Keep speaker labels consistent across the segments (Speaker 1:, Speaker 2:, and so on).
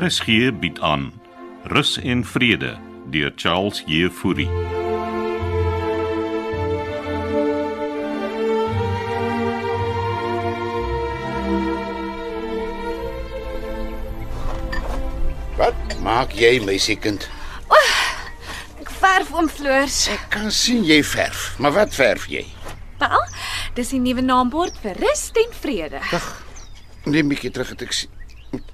Speaker 1: RSG bied aan Rus en Vrede deur Charles Jefouri.
Speaker 2: Wat maak jy, meisiekind?
Speaker 3: Ek verf oom Floors.
Speaker 2: Ek kan sien jy verf, maar wat verf jy?
Speaker 3: Wel, dis die nuwe naambord vir rus en vrede.
Speaker 2: Neem 'n bietjie terug dat ek sien.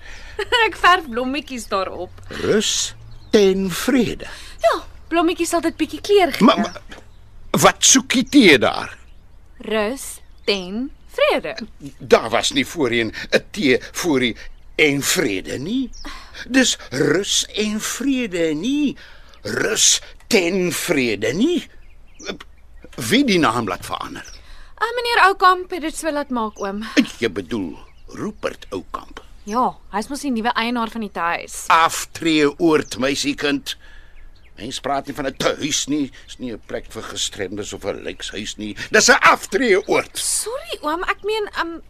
Speaker 3: ek verf blommetjies daarop.
Speaker 2: Rus ten vrede.
Speaker 3: Ja, blommetjies sal dit bietjie kleur gee.
Speaker 2: Maar, maar wat soek jy tee daar?
Speaker 3: Rus ten vrede.
Speaker 2: Daar was nie voorheen 'n tee vir die en vrede nie. Dis rus en vrede nie. Rus ten vrede nie. Wie die naam laat verander?
Speaker 3: Ah, meneer Oukamp het dit so laat maak oom.
Speaker 2: Jy bedoel Rupert Oukamp.
Speaker 3: Ja, hy's mos die nuwe eienaar van die huis.
Speaker 2: aftree oort meisiekind. Mens praat nie van 'n tuis nie, dis nie 'n plek vir gestremdes of 'n lijkshuis nie. Dis 'n aftree oort.
Speaker 3: Sorry oom, ek meen um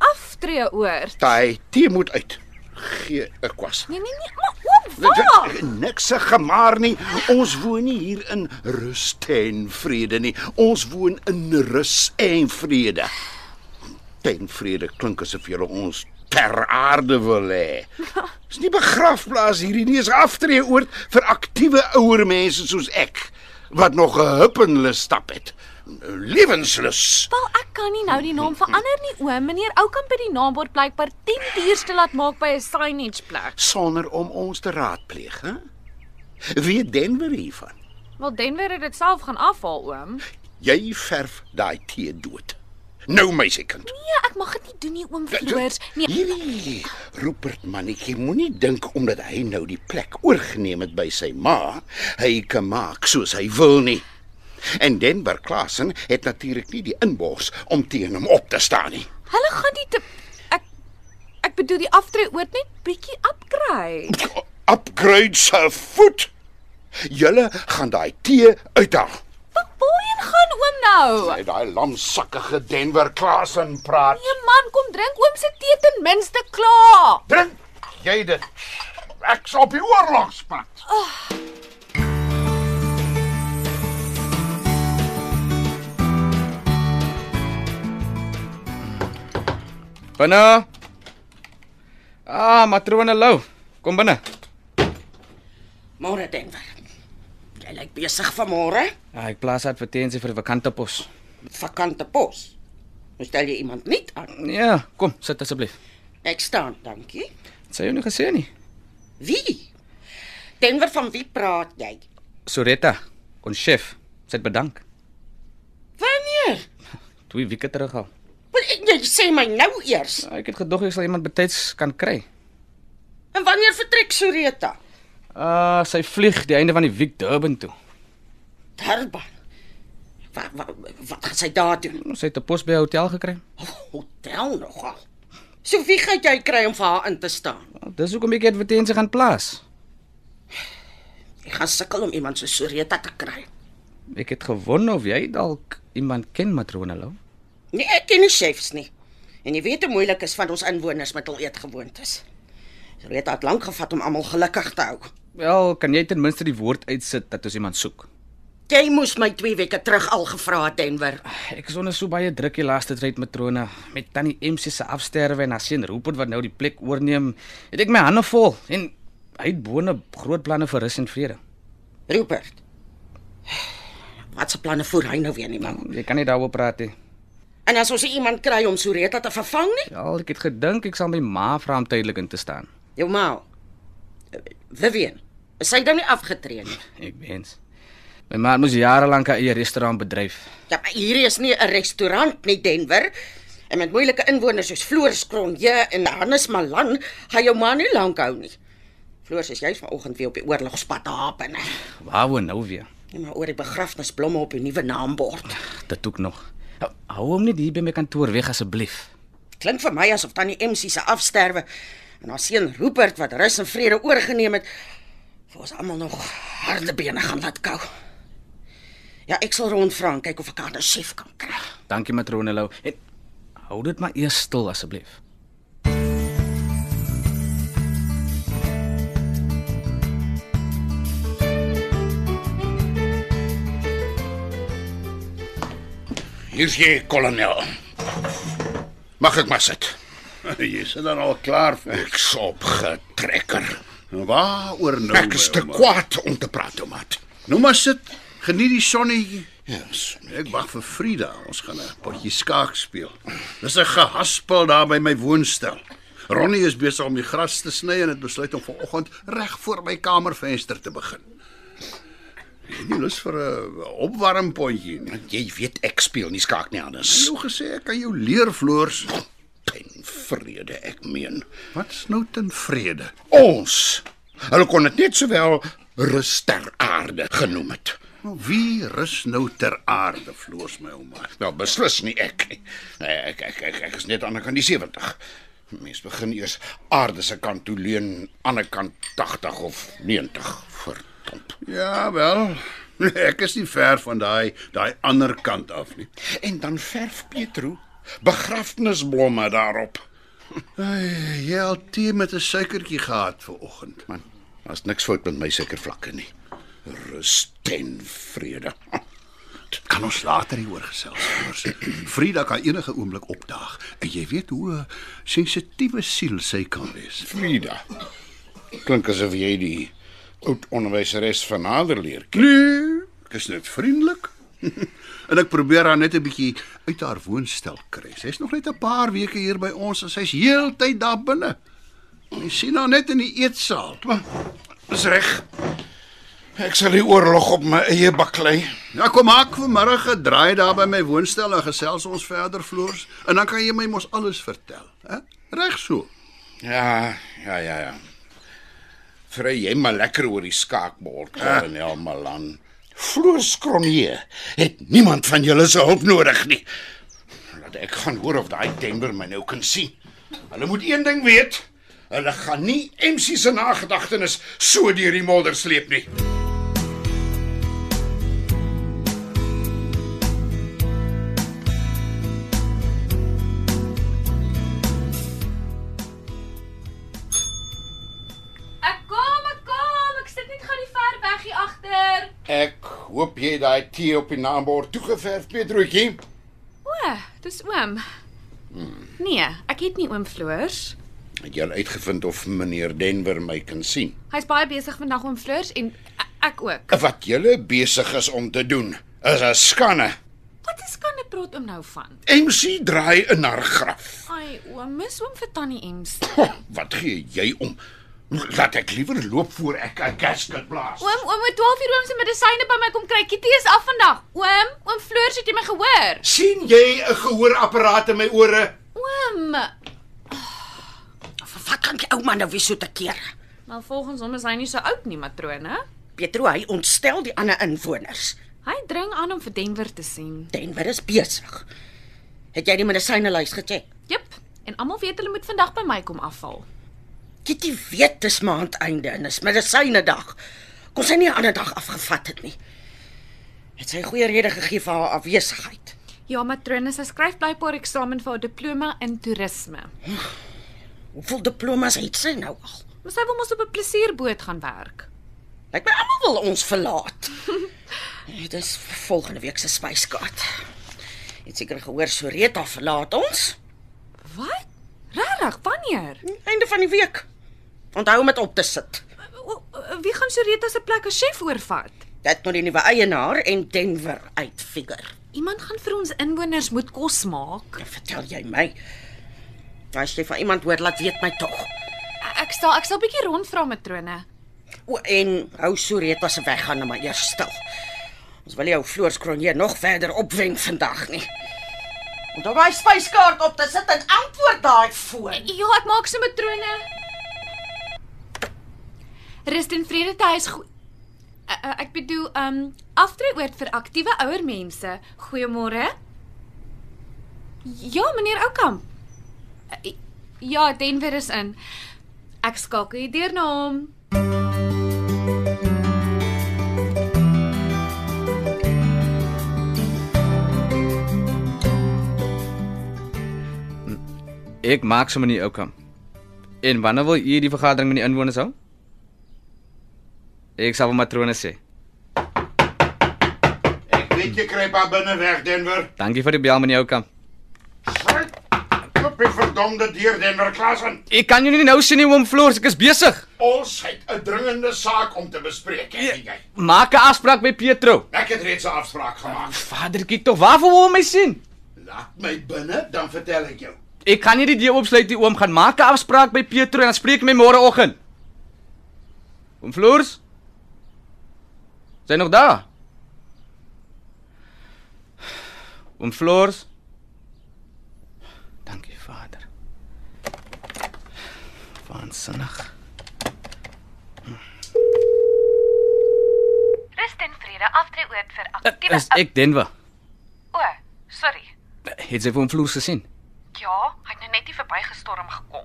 Speaker 3: aftree oor.
Speaker 2: Daai tee moet uit. Gee 'n kwas.
Speaker 3: Nee nee nee, maar oom, waar?
Speaker 2: Niks se gemaar nie. Ons woon nie hier in rus en vrede nie. Ons woon in rus en vrede. Ten vrede klink asof jy ons ter aarde wil hê. Dis nie begrafplaas hierdie nie, is aftreeoord vir aktiewe ouer mense soos ek wat nog 'n huppenlus stap het. Lewenslus.
Speaker 3: Wel, ek kan nie nou die naam verander nie oom. Meneer Oukamp het die naambord blykbaar 10 duurste laat maak by 'n signage plek.
Speaker 2: sonder om ons te raadpleeg, hè? Wie Denver hiervan?
Speaker 3: Wel Denver het dit self gaan afhaal, oom.
Speaker 2: Jy verf daai tee dood. Nou meisiekind.
Speaker 3: Nee, ek mag dit nie doen nie, oom Floors. Nee,
Speaker 2: Hierdie Rupert mannetjie moenie dink omdat hy nou die plek oorgeneem het by sy ma, hy kan maak soos hy wil nie. En Denver Klassen het natuurlik nie die inbors om teen hom op te staan nie.
Speaker 3: hulle gaan nie te ek ek bedoel die aftree oort net bietjie upgrade.
Speaker 2: Upgrade se voet. Julle gaan daai tee uithaal.
Speaker 3: Wat waarheen gaan oom nou?
Speaker 2: Hy daai lamsakkige Denver Klassen praat.
Speaker 3: Nee man, kom drink oom se tee ten minste klaar.
Speaker 2: Drink jy dit? Ek's op die oorlogspad.
Speaker 4: Binne. Ah, matrone Lou, kom binne.
Speaker 5: Môre Denver. Jy lyk besig vanmôre
Speaker 4: Ah, ek plaas advertensie vir vakante pos.
Speaker 5: met vakante pos. Moet stel jy iemand nie aan.
Speaker 4: Ja, kom, sit asseblief.
Speaker 5: Ek staan, dankie.
Speaker 4: Het Sy het jou nie gesien nie.
Speaker 5: Wie? Denver van wie praat jy?
Speaker 4: Soretta, ons chef, sy het bedank.
Speaker 5: Wanneer?
Speaker 4: Twee weke terug al.
Speaker 5: Wel ek- jy sê my nou eers.
Speaker 4: Ah, ek het gedog jy sal iemand betyds kan kry.
Speaker 5: En wanneer vertrek Soreta?
Speaker 4: Ah, sy vlieg die einde van die week Durban toe.
Speaker 5: Durban. Wat wat wat gaan sy daar doen? Oh,
Speaker 4: Ons het 'n pos by 'n hotel gekry.
Speaker 5: Hotel nogal. So wie gaan jy kry om vir haar in te staan?
Speaker 4: Wel, Ah, Dis hoekom ek die advertensie gaan plaas.
Speaker 5: Ek gaan sukkel om iemand so Soreta te kry.
Speaker 4: Ek het gewon of jy dalk iemand ken matrone Lou.
Speaker 5: Nee, ek ken nie chefs nie. En jy weet hoe moeilik is van ons inwoners met hul eetgewoontes. Rita het lank gevat om almal gelukkig te hou.
Speaker 4: Wel, kan jy ten minste die woord uitsit dat ons iemand soek?
Speaker 5: Jy moes my 2 weke terug al gevra het, Denver.
Speaker 4: Ek is onder so baie druk die laaste tyd matrone met tannie MC se afsterwe en haar seun Rupert wat nou die plek oorneem. Het ek my hande vol en hy het bone groot planne vir rus en vrede.
Speaker 5: Rupert. Wat se planne voer hy nou weer nie, man?
Speaker 4: Hm, Jy kan nie daaroor praat nie.
Speaker 5: En as ons nie iemand kry om Soreta te vervang nie?
Speaker 4: Ja, ek het gedink ek sal my ma vra om tydelik in te staan.
Speaker 5: Jou ma. Vivian. Is sy dan nie afgetree nie?
Speaker 4: Ek wens. My ma het mos jare lank haar eie restaurant bedryf.
Speaker 5: Ja, maar hierdie is nie 'n restaurant nie, Denver. En met moeilike inwoners soos Floors Kronje en Hannes Malan, gaan jou ma nie lank hou nie. Floors is juis vanoggend weer op die oorlogspad hapen.
Speaker 4: Waar woon nou weer?
Speaker 5: Ja, maar oor die begrafnisblomme op die nuwe naambord.
Speaker 4: Dit ook nog. Hou, hou hom net hier by my kantoor weg asseblief.
Speaker 5: Klink vir my asof tannie MC se afsterwe en haar seun Rupert wat rus en vrede oorgeneem het, vir ons almal nog harde bene gaan laat kou. Ja, ek sal rondvra en kyk of ek 'n ander chef kan kry.
Speaker 4: Dankie matrone Lou. En hou dit maar eers stil asseblief.
Speaker 6: Hier's jy, kolonel.
Speaker 2: Mag ek maar sit?
Speaker 6: Jy sit dan al klaar vir.
Speaker 2: Ek's opgetrekker.
Speaker 6: Waaroor nou?
Speaker 2: Ek is te
Speaker 6: Wilma?
Speaker 2: kwaad om te praat, Tomat.
Speaker 6: Nou maar sit. Geniet die sonnetjie.
Speaker 2: Ja, son.
Speaker 6: Ek wag vir Frida. Ons gaan 'n potjie skaak speel. Dis 'n gehaspel daar by my woonstel. Ronnie is besig om die gras te sny en het besluit om vanoggend reg voor my kamervenster te begin. Jy het nie lus vir 'n opwarmpontjie nie.
Speaker 2: Jy weet ek speel nie skaak nie anders.
Speaker 6: Jou gesê ek kan jou leer floors.
Speaker 2: Ten vrede, ek meen.
Speaker 6: Wat's nou ten vrede?
Speaker 2: Ons. Hulle kon dit net sowel rus ter aarde genoem het.
Speaker 6: Nou, Wie rus nou ter aarde floors my ouma?
Speaker 2: Wel Nou, beslis nie ek nie. Nee, Ek ek ek, ek is net aan die kant die 70. Mens begin eers aarde se kant toe leun, ander kant 80 of 90. Verdomp.
Speaker 6: Ja wel. Ek is nie ver van daai daai ander kant af nie.
Speaker 2: En dan verf Petro begrafnisblomme daarop.
Speaker 6: Ai, jy het al tee met 'n suikertjie gehad vanoggend.
Speaker 2: Man, daar's niks fout met my suikervlakke nie. Rus ten vrede.
Speaker 6: Kan ons later hieroor gesels hoors. Frida kan enige oomblik opdaag en jy weet hoe 'n sensitiewe siel sy kan wees.
Speaker 2: Frida. Klink asof jy die oud onderwyseres van nader leer ken.
Speaker 6: Nee, ek is net vriendelik. en ek probeer haar net 'n bietjie uit haar woonstel kry. Sy's nog net 'n paar weke hier by ons en sy's heeltyd daar binne. Jy sien haar net in die eetsaal.
Speaker 2: Dis reg. Ek sal die oorlog op my eie baklei.
Speaker 6: Ja, kom maak vanmiddag 'n draai daar by my woonstel en gesels ons verder floors en dan kan jy my mos alles vertel, hè? Reg so.
Speaker 2: Ja, ja, ja, ja. Vry jy maar lekker oor die skaakbord, kolonel Malan. Floors Kronje het niemand van julle se hulp nodig nie. Laat ek gaan hoor of daai Denver my nou kan sien. Hulle moet een ding weet. Hulle gaan nie MC se nagedagtenis so deur die modder sleep nie.
Speaker 3: Ek kom, ek kom. Ek sit net gaan die ver weggie agter.
Speaker 2: Ek hoop jy het daai tee op die naambord toegeverf, Petroetjie.
Speaker 3: O, dis oom. Nee, ek het nie oom Floors.
Speaker 2: Het jy al uitgevind of meneer Denver my kan sien?
Speaker 3: Hy's baie besig vandag oom Floors en e- ek ook.
Speaker 2: Wat julle besig is om te doen is 'n skande.
Speaker 3: Wat is kan 'n prot oom nou van?
Speaker 2: MC draai in haar graf.
Speaker 3: Ai, oom, mis oom vir tannie Ems.
Speaker 2: Ho, wat gee jy om? Laat ek liewer loop voor ek 'n gasket blaas.
Speaker 3: Oom, oom het 12 uur oom se medisyne by my kom kry. Kitty is af vandag. Oom, oom Floors, het jy my gehoor?
Speaker 2: sien jy 'n gehoorapparaat in my ore?
Speaker 3: Oom,
Speaker 5: Vir wat gaan die ou man nou weer so te keer?
Speaker 3: maar volgens hom is hy nie so oud nie, matrone.
Speaker 5: Petro, hy ontstel die ander inwoners.
Speaker 3: Hy dring aan om vir Denver te sien.
Speaker 5: Denver is besig. Het jy die medisynelys gecheck?
Speaker 3: Jep, en almal weet hulle moet vandag by my kom afval.
Speaker 5: Kitty weet dis maandeinde en dis medisynedag. Kon sy nie 'n ander dag afgevat het nie. Het sy goeie rede gegee vir haar afwesigheid.
Speaker 3: Ja, matrone, sy skryf blykbaar eksamen vir haar diploma in toerisme.
Speaker 5: Hoeveel diplomas het sy nou al?
Speaker 3: Maar sy wil mos op 'n plesierboot gaan werk.
Speaker 5: Lyk my almal wil ons verlaat. Dit is vir volgende week se spyskaart. Jy Het seker gehoor Soreta verlaat ons
Speaker 3: Wat? Regtig? Wanneer?
Speaker 5: einde van die week. Onthou om dit op te sit.
Speaker 3: O, o, Wie gaan Soreta se plek as chef oorvat?
Speaker 5: Dit moet die nuwe eienaar en Denver uitfigure.
Speaker 3: Iemand gaan vir ons inwoners moet kos maak.
Speaker 5: Dan vertel jy my. As jy van iemand hoor, laat weet my tog.
Speaker 3: Ek stel ek stel 'n bietjie rondvra matrone.
Speaker 5: O, en hou Soreta se weggaan nou maar eers stil. Ons wil jou Floors Kronje nog verder opwen vandag nie. Onthou daai spyskaart op te sit en antwoord daai foon.
Speaker 3: Ja, ek maak so matrone. Rust en vrede te huis. goe- Eh, eh, Ek bedoel, ehm um, aftreeoort vir aktiewe ouer mense. Goeiemôre. Ja, meneer Oukamp. Eh, Ja, Denver is in. Ek skakel hier deur na hom.
Speaker 4: Ek maak sommer nie oukom. En wanneer wil u die vergadering met die inwoners hou? Ek sal vir matrone sê.
Speaker 2: Ek
Speaker 6: Net jy kry pa binne weg Denver.
Speaker 4: Dankie vir die bel meneer Oukamp.
Speaker 6: Sluit. Klop die verdomde deur Denver Klasen.
Speaker 4: Ek kan jou nie nou sien nie oom Floors, ek is besig.
Speaker 6: Ons het 'n dringende saak om te bespreek, hè,
Speaker 4: Ja.
Speaker 6: jy.
Speaker 4: Maak 'n afspraak by Petro.
Speaker 6: Ek het reeds 'n afspraak gemaak.
Speaker 4: Vadertjie, tog waarvoor wil hom my sien?
Speaker 6: Laat my binne, dan vertel ek jou.
Speaker 4: Ek kan nie die deur oopsluit nie oom, gaan maak 'n afspraak by Petro en dan spreek ek my môreoggend. Oom Floors? Zijn nog daar? Oom Floors? Dankie Vader. Waansinnig.
Speaker 7: Rus ten vrede aftreeoord vir
Speaker 4: Eh,
Speaker 7: aktiewe.
Speaker 4: Is ek Denver?
Speaker 7: O, sorry.
Speaker 4: Het sy vir hom Floors gesien?
Speaker 7: Ja, hy het nou net nie verbygestorm gekom.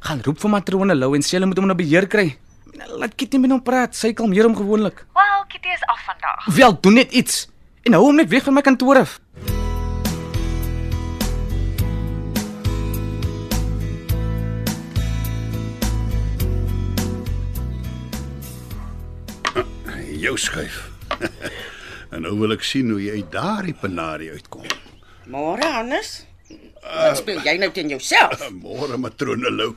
Speaker 4: Gaan roep vir matrone Lou en sê hulle moet hom na beheer kry. Laat Kitty met hom praat, sy kalmeer hom gewoonlik.
Speaker 7: Wel, Kitty is af vandag.
Speaker 4: Wel, doen net iets en hou hom net weg van my kantoor af.
Speaker 2: Jou skuif. en nou wil ek sien hoe jy uit daardie penarie uitkom.
Speaker 5: Môre anders. Wat speel jy nou teen jouself?
Speaker 2: Môre matrone Lou.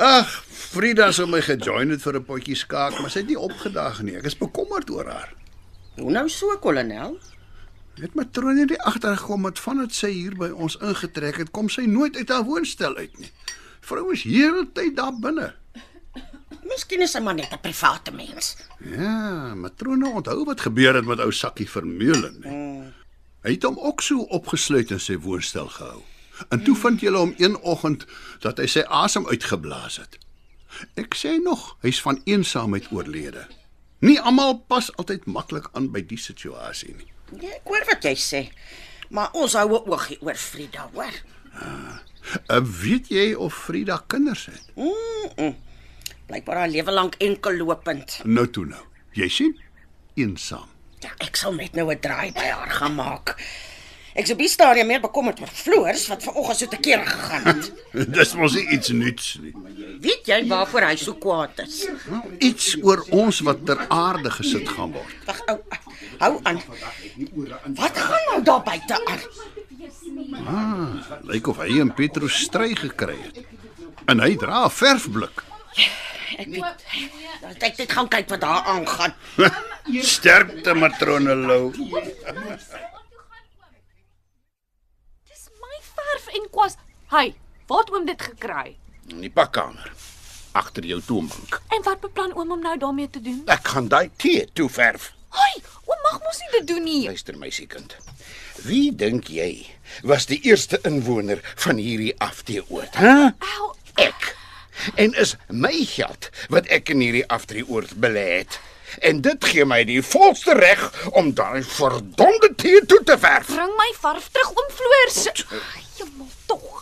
Speaker 2: Ag, Frida sou my gejoin het vir 'n potjie skaak, maar sy het nie opgedag nie. Ek is bekommerd oor haar.
Speaker 5: Hoe nou so, kolonel?
Speaker 2: Het matrone nie agtergekom dat vandat sy hier by ons ingetrek het, kom sy nooit uit haar woonstel uit nie. Vrou is heeltyd daar binne.
Speaker 5: Miskien is hy maar net 'n private mens.
Speaker 2: Ja, matrone onthou wat gebeur het met ou Sakkie Vermeulen, hè.
Speaker 6: Mm.
Speaker 2: Hy het hom ook so opgesluit in sy woonstel gehou. En toe vind julle hom een oggend dat hy sy asem uitgeblaas het. Ek sê nog, hy's van eensaamheid oorlede. Nie almal pas altyd maklik aan by die situasie nie.
Speaker 5: Ja, ek hoor wat jy sê. Maar ons hou 'n oogie oor Frida, hoor.
Speaker 2: Uh, weet jy of Frida kinders het?
Speaker 5: Blykbaar haar lewe lank enkel lopend.
Speaker 2: Nou toe nou. Jy sien? Eensaam.
Speaker 5: Ja, ek sal net nou 'n draai by haar gaan maak. Ek sou bestaar meer bekommerd oor Floors wat vanoggend so te kere gegaan het.
Speaker 2: Dis mos nie iets nuuts nie.
Speaker 5: Weet jy waarvoor hy so kwaad is?
Speaker 2: Iets oor ons wat ter aarde gesit gaan word.
Speaker 5: Wag, ou, hou aan. Wat gaan nou daar buite aan?
Speaker 2: Lyk of hy en Petro stry gekry het. En hy dra 'n verfblik.
Speaker 5: Ek weet. Ek dink dit gaan kyk wat daar aangaan.
Speaker 2: Sterkte matrone Lou.
Speaker 3: Dis my verf en kwas. Hy, waar het oom dit gekry?
Speaker 6: In die pakkamer agter jou toonbank.
Speaker 3: En wat beplan oom om nou daarmee te doen?
Speaker 6: Ek gaan daai tee toe verf.
Speaker 3: Hoi, oom mag mos nie dit doen nie.
Speaker 2: Nee.
Speaker 6: Luister meisiekind. Wie dink jy was die eerste inwoner van hierdie afdeeoord, hè?
Speaker 3: Au,
Speaker 6: Ek. En is my geld wat ek in hierdie afdeeoord belê het. En dit gee my die volste reg om daai verdomde tee toe te verf.
Speaker 3: bring my verf terug oom Floors. Jemmel tog.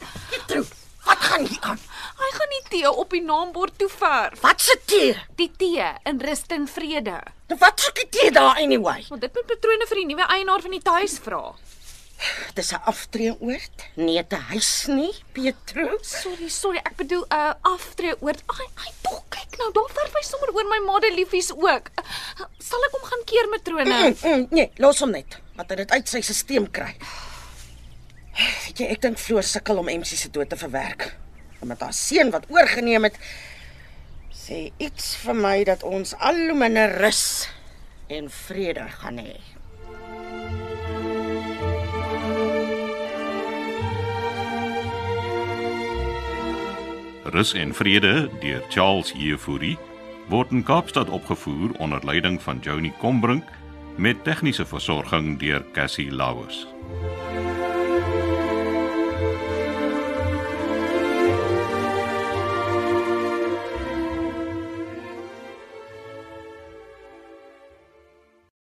Speaker 5: Trou, wat gaan hier aan?
Speaker 3: Hy gaan nie tee op die naambord toe verf.
Speaker 5: Wat se tee?
Speaker 3: Die tee in rus en vrede.
Speaker 5: Nou, Wat soek die tee daar anyway?
Speaker 3: Want dit moet patrone vir die nuwe eienaar van die tuis vra.
Speaker 5: Dis 'n aftreeoord? Nee, te huis nie, Petrus.
Speaker 3: Sorry, sorry, ek bedoel 'n uh, aftree oor. Ai, ai tog, kyk nou, daar verf hy sommer oor my madeliefies ook. Uh, Sal ek hom gaan keer matrone?
Speaker 5: Mm, mm, nee, los hom net. Wat hy dit uit sy stelsel kry. Weet jy, ek dink Floor sukkel om MC se dood te verwerk. En met haar seun wat oorgeneem het, sê iets vir my dat ons al hoe minder rus en vrede gaan hê.
Speaker 1: Rus en Vrede deur Charles Jefouri word in Kaapstad opgevoer onder leiding van Johnny Combrink met tegniese versorging deur Cassie Lauers.